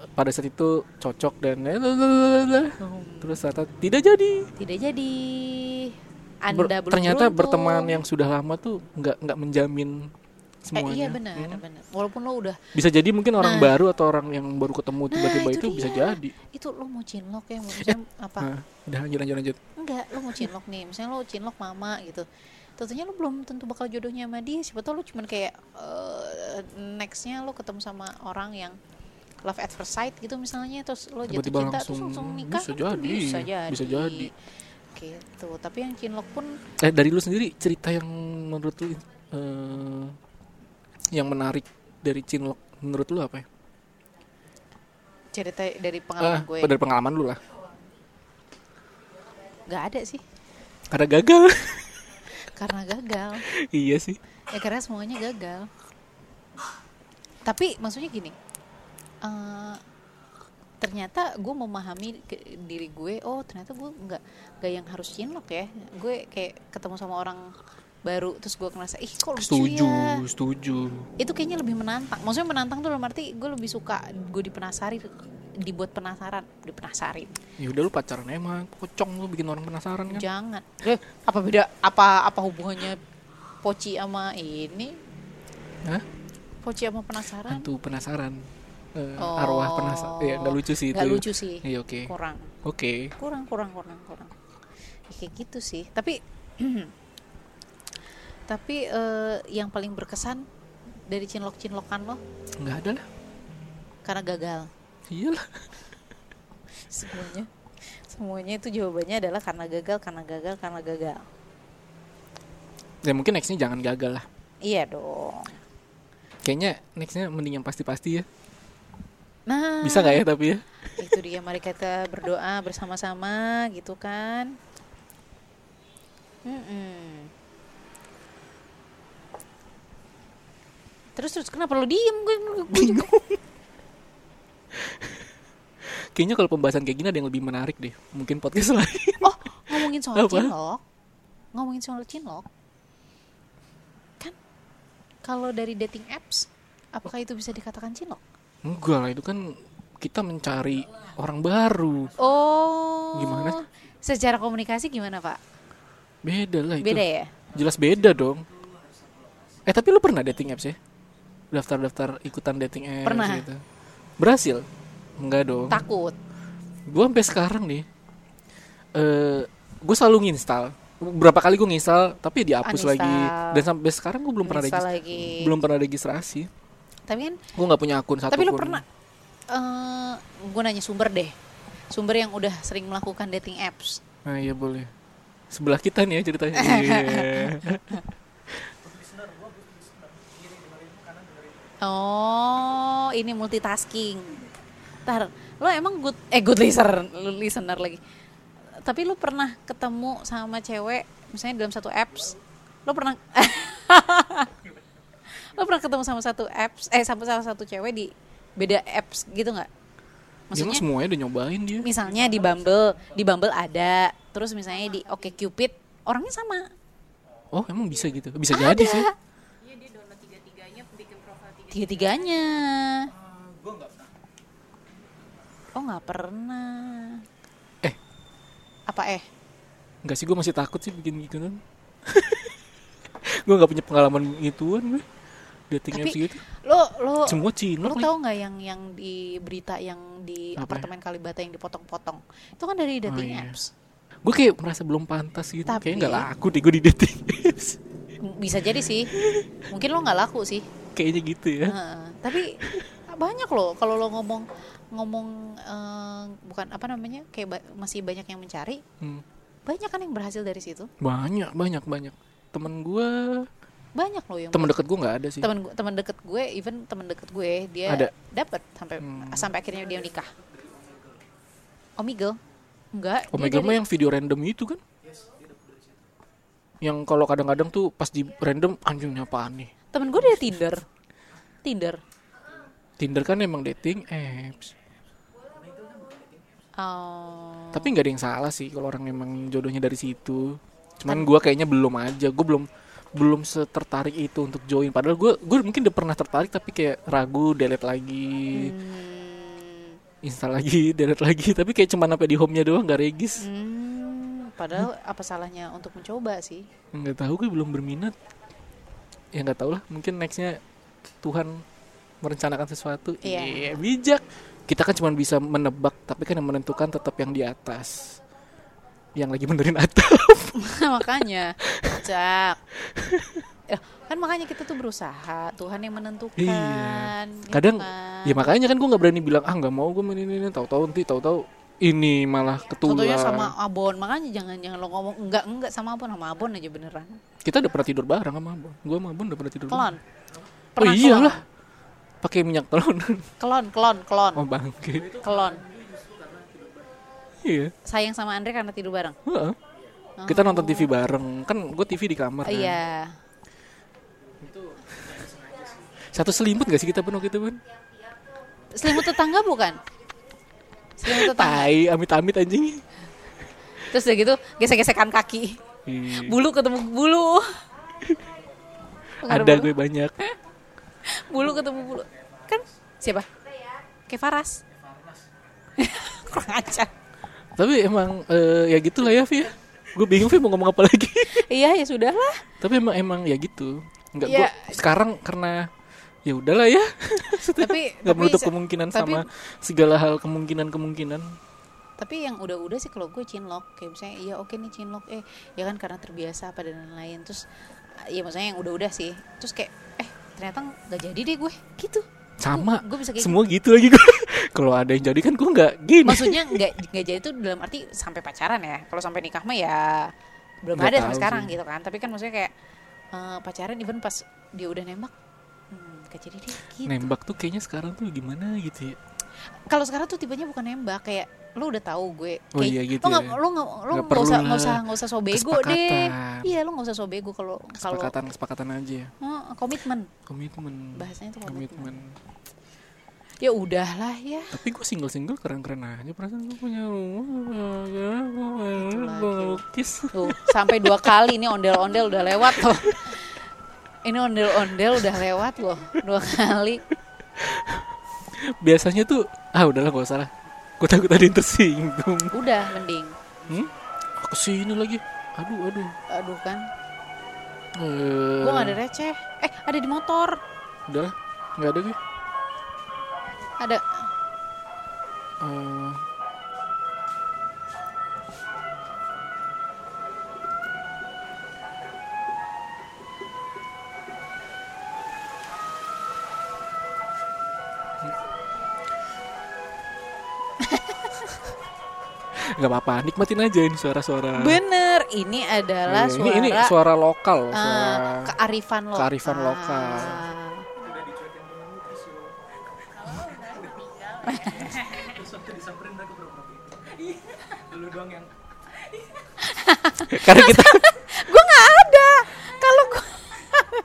[SPEAKER 1] eh, pada saat itu cocok dan
[SPEAKER 2] Oh.
[SPEAKER 1] terus ternyata tidak jadi
[SPEAKER 2] tidak jadi. Anda
[SPEAKER 1] Ber-
[SPEAKER 2] belum Eh,
[SPEAKER 1] ternyata
[SPEAKER 2] beruntung.
[SPEAKER 1] berteman yang sudah lama tuh nggak nggak menjamin semuanya Hmm.
[SPEAKER 2] Eh, iya benar, benar. Walaupun lo udah
[SPEAKER 1] bisa jadi mungkin orang
[SPEAKER 2] Nah.
[SPEAKER 1] baru atau orang yang baru ketemu tiba-tiba
[SPEAKER 2] itu
[SPEAKER 1] itu, bisa
[SPEAKER 2] dia.
[SPEAKER 1] jadi
[SPEAKER 2] itu lo mau cinlok ya maksudnya apa
[SPEAKER 1] nah, udah lanjut lanjut lanjut
[SPEAKER 2] enggak lo mau cinlok nih misalnya lo cinlok mama gitu tentunya lo belum tentu bakal jodohnya sama dia siapa tau lo cuman kayak eh, nextnya lo ketemu sama orang yang love at first sight gitu misalnya terus lo jatuh
[SPEAKER 1] Tiba-tiba
[SPEAKER 2] cinta terus
[SPEAKER 1] langsung, "Hmm,
[SPEAKER 2] langsung nikah
[SPEAKER 1] bisa
[SPEAKER 2] kan tuh
[SPEAKER 1] jadi,
[SPEAKER 2] bisa jadi
[SPEAKER 1] bisa jadi.
[SPEAKER 2] gitu tapi yang cinlok pun
[SPEAKER 1] eh dari lu sendiri cerita yang menurut lu eh, yang menarik dari cinlok menurut lu apa ya
[SPEAKER 2] cerita dari
[SPEAKER 1] Ah,
[SPEAKER 2] pengalaman gue
[SPEAKER 1] dari pengalaman lu lah
[SPEAKER 2] nggak ada sih
[SPEAKER 1] karena gagal [LAUGHS]
[SPEAKER 2] karena gagal
[SPEAKER 1] iya sih
[SPEAKER 2] ya karena semuanya gagal tapi maksudnya gini eh, ternyata gue memahami ke- diri gue oh ternyata gue nggak nggak yang harus cinlok ya gue kayak ketemu sama orang baru terus gue ngerasa ih kok lucu
[SPEAKER 1] setuju
[SPEAKER 2] ya
[SPEAKER 1] setuju
[SPEAKER 2] itu kayaknya lebih menantang maksudnya menantang tuh dalam arti gue lebih suka gue dipenasari dibuat penasaran dipenasarin
[SPEAKER 1] ya udah lu pacaran emang pocong lu bikin orang penasaran kan
[SPEAKER 2] jangan eh, apa beda apa apa hubungannya poci sama ini
[SPEAKER 1] Hah?
[SPEAKER 2] poci sama penasaran
[SPEAKER 1] hantu penasaran Eh,
[SPEAKER 2] Oh.
[SPEAKER 1] arwah penasaran ya nggak lucu sih itu
[SPEAKER 2] Nggak lucu sih.
[SPEAKER 1] iya oke
[SPEAKER 2] kurang
[SPEAKER 1] oke
[SPEAKER 2] kurang kurang kurang kurang Ya, kayak gitu sih tapi [CLEARS THROAT] tapi eh, yang paling berkesan dari cinlok cinlokan lo
[SPEAKER 1] nggak ada lah
[SPEAKER 2] karena gagal
[SPEAKER 1] iyalah
[SPEAKER 2] semuanya semuanya itu jawabannya adalah karena gagal karena gagal karena gagal
[SPEAKER 1] ya mungkin nextnya jangan gagal lah
[SPEAKER 2] iya dong
[SPEAKER 1] kayaknya nextnya mending yang pasti-pasti ya
[SPEAKER 2] nah
[SPEAKER 1] bisa nggak ya tapi ya
[SPEAKER 2] itu dia mari kita berdoa bersama-sama gitu kan Mm-mm. terus terus kenapa lo diem gue gue juga
[SPEAKER 1] kayaknya kalau pembahasan kayak gini ada yang lebih menarik deh mungkin podcast lain [LAUGHS]
[SPEAKER 2] oh ngomongin soal
[SPEAKER 1] Apa?
[SPEAKER 2] cinlok ngomongin soal cinlok kan kalau dari dating apps apakah itu bisa dikatakan cinlok
[SPEAKER 1] enggak lah itu kan kita mencari orang baru
[SPEAKER 2] oh
[SPEAKER 1] Gimana?
[SPEAKER 2] secara komunikasi gimana pak
[SPEAKER 1] beda lah Nah, itu
[SPEAKER 2] beda ya
[SPEAKER 1] jelas beda dong eh tapi lu pernah dating apps ya daftar-daftar ikutan dating apps
[SPEAKER 2] Pernah.
[SPEAKER 1] gitu berhasil enggak dong
[SPEAKER 2] takut
[SPEAKER 1] gue sampai sekarang nih eh gue selalu nginstal berapa kali gue nginstal tapi dihapus
[SPEAKER 2] Uninstall.
[SPEAKER 1] lagi dan sampai sekarang gue belum pernah
[SPEAKER 2] Uninstall
[SPEAKER 1] regis-
[SPEAKER 2] Ah, lagi.
[SPEAKER 1] belum pernah registrasi
[SPEAKER 2] tapi kan
[SPEAKER 1] gue nggak punya akun satu
[SPEAKER 2] Tapi lo pernah eh gue nanya sumber deh. Sumber yang udah sering melakukan dating apps.
[SPEAKER 1] nah iya boleh sebelah kita nih ya ceritanya
[SPEAKER 2] [LAUGHS]
[SPEAKER 1] Iya.
[SPEAKER 2] Oh, ini multitasking. Ntar, lo emang good eh good listener, listener lagi. Tapi lo pernah ketemu sama cewek misalnya dalam satu apps? Lo pernah [LAUGHS] Lo pernah ketemu sama satu apps eh sama salah satu cewek di beda apps gitu nggak?
[SPEAKER 1] dia mah semuanya udah nyobain dia
[SPEAKER 2] misalnya di Bumble, di Bumble ada, terus misalnya di Oke Cupid orangnya sama.
[SPEAKER 1] oh emang bisa gitu bisa jadi sih
[SPEAKER 2] Tiga-tiganya. Oh nggak pernah.
[SPEAKER 1] Eh.
[SPEAKER 2] Apa eh?
[SPEAKER 1] Enggak sih gue masih takut sih bikin [LAUGHS] gituan gue nggak punya pengalaman gituan gue dating
[SPEAKER 2] Tapi-
[SPEAKER 1] apps gitu
[SPEAKER 2] Lo lo
[SPEAKER 1] semua
[SPEAKER 2] lo
[SPEAKER 1] cinlok nih.
[SPEAKER 2] tau nggak yang yang di berita yang di
[SPEAKER 1] Apa ya?
[SPEAKER 2] apartemen Kalibata yang dipotong-potong? Itu kan dari dating
[SPEAKER 1] iya.
[SPEAKER 2] apps.
[SPEAKER 1] gue kayak merasa belum pantas gitu
[SPEAKER 2] Tapi-
[SPEAKER 1] kayak nggak laku deh gue di dating apps [LAUGHS]
[SPEAKER 2] M- Bisa jadi sih. Mungkin lo nggak laku sih. Nah.
[SPEAKER 1] kayaknya gitu ya
[SPEAKER 2] Heeh. tapi banyak loh kalau lo ngomong ngomong eh, bukan apa namanya kayak ba- masih banyak yang mencari
[SPEAKER 1] Hmm.
[SPEAKER 2] banyak kan yang berhasil dari situ
[SPEAKER 1] banyak banyak banyak temen gue
[SPEAKER 2] banyak loh yang
[SPEAKER 1] temen deket gue nggak ada sih
[SPEAKER 2] teman gu- teman deket gue even teman deket gue dia
[SPEAKER 1] Ada.
[SPEAKER 2] dapat sampai sampai akhirnya dia nikah Omegle enggak dia
[SPEAKER 1] Omega
[SPEAKER 2] dari-
[SPEAKER 1] mah yang video random itu kan yang kalau kadang-kadang tuh pas di random anjingnya apaan nih
[SPEAKER 2] temen gue dari Tinder Tinder
[SPEAKER 1] Tinder kan emang dating apps
[SPEAKER 2] Oh,
[SPEAKER 1] tapi nggak ada yang salah sih kalau orang emang jodohnya dari situ cuman gue kayaknya belum aja gue belum belum setertarik itu untuk join padahal gue gue mungkin udah pernah tertarik tapi kayak ragu delete lagi
[SPEAKER 2] hmm,
[SPEAKER 1] install lagi [LAUGHS] delete lagi tapi kayak cuman sampai di home-nya doang nggak regis
[SPEAKER 2] hmm, padahal apa salahnya untuk mencoba sih
[SPEAKER 1] nggak tahu gue belum berminat ya nggak tahu lah mungkin nextnya Tuhan merencanakan sesuatu
[SPEAKER 2] Iya.
[SPEAKER 1] Iya, bijak kita kan cuma bisa menebak tapi kan yang menentukan tetap yang di atas yang lagi benerin atap
[SPEAKER 2] [LAUGHS] makanya cak Eh, kan makanya kita tuh berusaha Tuhan yang menentukan
[SPEAKER 1] Iya.
[SPEAKER 2] gitu
[SPEAKER 1] kadang
[SPEAKER 2] kan.
[SPEAKER 1] ya makanya kan gue nggak berani bilang ah nggak mau gue main ini ini tahu-tahu nanti tahu-tahu ini malah
[SPEAKER 2] Contohnya
[SPEAKER 1] ketular
[SPEAKER 2] sama abon, makanya jangan jangan lo ngomong enggak enggak sama abon sama abon aja beneran.
[SPEAKER 1] kita udah pernah tidur bareng sama abon gue sama abon udah pernah tidur
[SPEAKER 2] Kelon.
[SPEAKER 1] bareng. oh iyalah pakai minyak telon
[SPEAKER 2] Kelon, kelon, kelon,
[SPEAKER 1] [LAUGHS] oh bangke
[SPEAKER 2] kelon.
[SPEAKER 1] iya
[SPEAKER 2] Sayang sama Andre karena tidur bareng.
[SPEAKER 1] Heeh. kita nonton TV bareng kan gue TV di kamar kan.
[SPEAKER 2] Oh. Iya.
[SPEAKER 1] satu selimut gak sih kita penuh gitu Bun?
[SPEAKER 2] Selimut tetangga bukan? Selimut tetangga.
[SPEAKER 1] tai amit-amit anjing
[SPEAKER 2] Terus udah gitu gesek-gesekan kaki.
[SPEAKER 1] Ih,
[SPEAKER 2] Bulu ketemu bulu.
[SPEAKER 1] ada gue banyak
[SPEAKER 2] Bulu ketemu bulu. Kan siapa? Kevaras. [LAUGHS] Kurang ajar.
[SPEAKER 1] tapi emang eh, ya gitulah ya Vi ya. gue bingung Vi mau ngomong apa lagi [LAUGHS]
[SPEAKER 2] Iya, ya sudahlah.
[SPEAKER 1] tapi emang emang ya gitu nggak
[SPEAKER 2] Iya.
[SPEAKER 1] gue sekarang karena ya udahlah ya
[SPEAKER 2] [LAUGHS] Tapi
[SPEAKER 1] nggak
[SPEAKER 2] tapi
[SPEAKER 1] menutup
[SPEAKER 2] se-
[SPEAKER 1] kemungkinan
[SPEAKER 2] tapi-
[SPEAKER 1] sama segala hal kemungkinan kemungkinan
[SPEAKER 2] tapi yang udah-udah sih kalau gue cinlok kayak misalnya iya oke nih cinlok eh ya kan karena terbiasa apa dan lain-lain terus ya maksudnya yang udah-udah sih terus kayak eh ternyata nggak jadi deh gue gitu
[SPEAKER 1] sama
[SPEAKER 2] Gua- gua bisa kayak gitu.
[SPEAKER 1] semua gitu lagi gue [LAUGHS] kalau ada yang jadi kan gue nggak gini
[SPEAKER 2] maksudnya nggak nggak jadi tuh dalam arti sampai pacaran ya kalau sampai nikah mah ya belum
[SPEAKER 1] Nggak
[SPEAKER 2] ada sampai
[SPEAKER 1] tahu
[SPEAKER 2] sekarang
[SPEAKER 1] sih.
[SPEAKER 2] gitu kan tapi kan maksudnya kayak eh, pacaran even pas dia udah nembak hmm, nggak jadi deh gitu
[SPEAKER 1] nembak tuh kayaknya sekarang tuh gimana gitu ya
[SPEAKER 2] kalau sekarang tuh tibanya bukan nembak kayak lu udah tahu gue
[SPEAKER 1] Oh
[SPEAKER 2] Kayak,
[SPEAKER 1] iya gitu
[SPEAKER 2] lo nggak
[SPEAKER 1] ya.
[SPEAKER 2] lo nggak lo
[SPEAKER 1] Nggak
[SPEAKER 2] nggak usah
[SPEAKER 1] perlu
[SPEAKER 2] nggak usah
[SPEAKER 1] lah.
[SPEAKER 2] nggak usah so bego deh
[SPEAKER 1] Kesepakatan.
[SPEAKER 2] iya lo nggak usah so bego kalau kalau
[SPEAKER 1] kesepakatan kesepakatan aja ya.
[SPEAKER 2] Oh, komitmen.
[SPEAKER 1] komitmen
[SPEAKER 2] Bahasanya tuh komitmen.
[SPEAKER 1] komitmen
[SPEAKER 2] Ya udahlah ya.
[SPEAKER 1] Tapi gue single-single keren-keren aja Perasaan gue punya rumah Gue
[SPEAKER 2] gitu.
[SPEAKER 1] lukis
[SPEAKER 2] Tuh, sampai dua kali nih ondel-ondel udah lewat loh. Ini ondel-ondel udah lewat loh dua kali.
[SPEAKER 1] Biasanya tuh Ah udahlah gak usah lah Gue takut ada yang tersinggung
[SPEAKER 2] Udah mending.
[SPEAKER 1] hmm? Aku sini lagi Aduh aduh
[SPEAKER 2] Aduh kan.
[SPEAKER 1] eh,
[SPEAKER 2] Gua gak ada receh. Eh, ada di motor.
[SPEAKER 1] Udahlah Gak ada gue
[SPEAKER 2] Ada [LAUGHS]
[SPEAKER 1] Eh, Gak apa-apa, nikmatin aja ini suara-suara
[SPEAKER 2] bener. Ini adalah
[SPEAKER 1] Ah. Iya,
[SPEAKER 2] suara,
[SPEAKER 1] ini, ini suara lokal
[SPEAKER 2] eh,
[SPEAKER 1] suara...
[SPEAKER 2] kearifan lokal.
[SPEAKER 1] kearifan lokal. [LAUGHS] Karena kita
[SPEAKER 2] [LAUGHS] Gua nggak ada. Kalau gua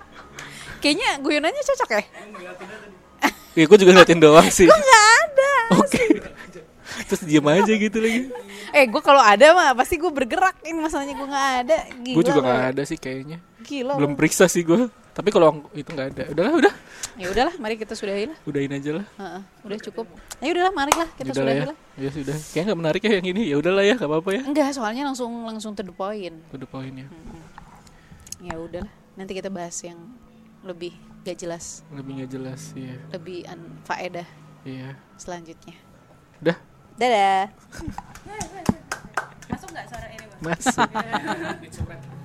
[SPEAKER 2] [LAUGHS] Kayaknya guyonannya cocok ya?
[SPEAKER 1] [LAUGHS] ya, Gue juga ngeliatin doang sih
[SPEAKER 2] Gua nggak ada.
[SPEAKER 1] Oke Terus diam aja gitu lagi
[SPEAKER 2] Eh, gue kalau ada mah pasti gue bergerak. Ini masalahnya gue nggak ada. Gila.
[SPEAKER 1] Gue juga
[SPEAKER 2] lu.
[SPEAKER 1] gak ada sih kayaknya
[SPEAKER 2] Gila.
[SPEAKER 1] Belum
[SPEAKER 2] lu.
[SPEAKER 1] periksa sih gue Tapi kalau itu gak ada Udahlah udah
[SPEAKER 2] Ya udahlah, mari kita sudahi lah.
[SPEAKER 1] Udahin aja lah
[SPEAKER 2] Heeh, udah cukup. Ya udahlah, mari lah kita
[SPEAKER 1] Udahlah
[SPEAKER 2] sudahi
[SPEAKER 1] ya
[SPEAKER 2] lah.
[SPEAKER 1] Ya sudah Kayaknya gak menarik ya yang ini Ya udahlah ya gak apa-apa ya
[SPEAKER 2] Enggak, soalnya langsung langsung to the point.
[SPEAKER 1] Udah poin ya
[SPEAKER 2] Ya udahlah, nanti kita bahas yang lebih gak jelas,
[SPEAKER 1] Lebih gak jelas Iya
[SPEAKER 2] lebih faedah
[SPEAKER 1] Iya
[SPEAKER 2] selanjutnya.
[SPEAKER 1] Udah
[SPEAKER 2] Dadah.
[SPEAKER 1] Masuk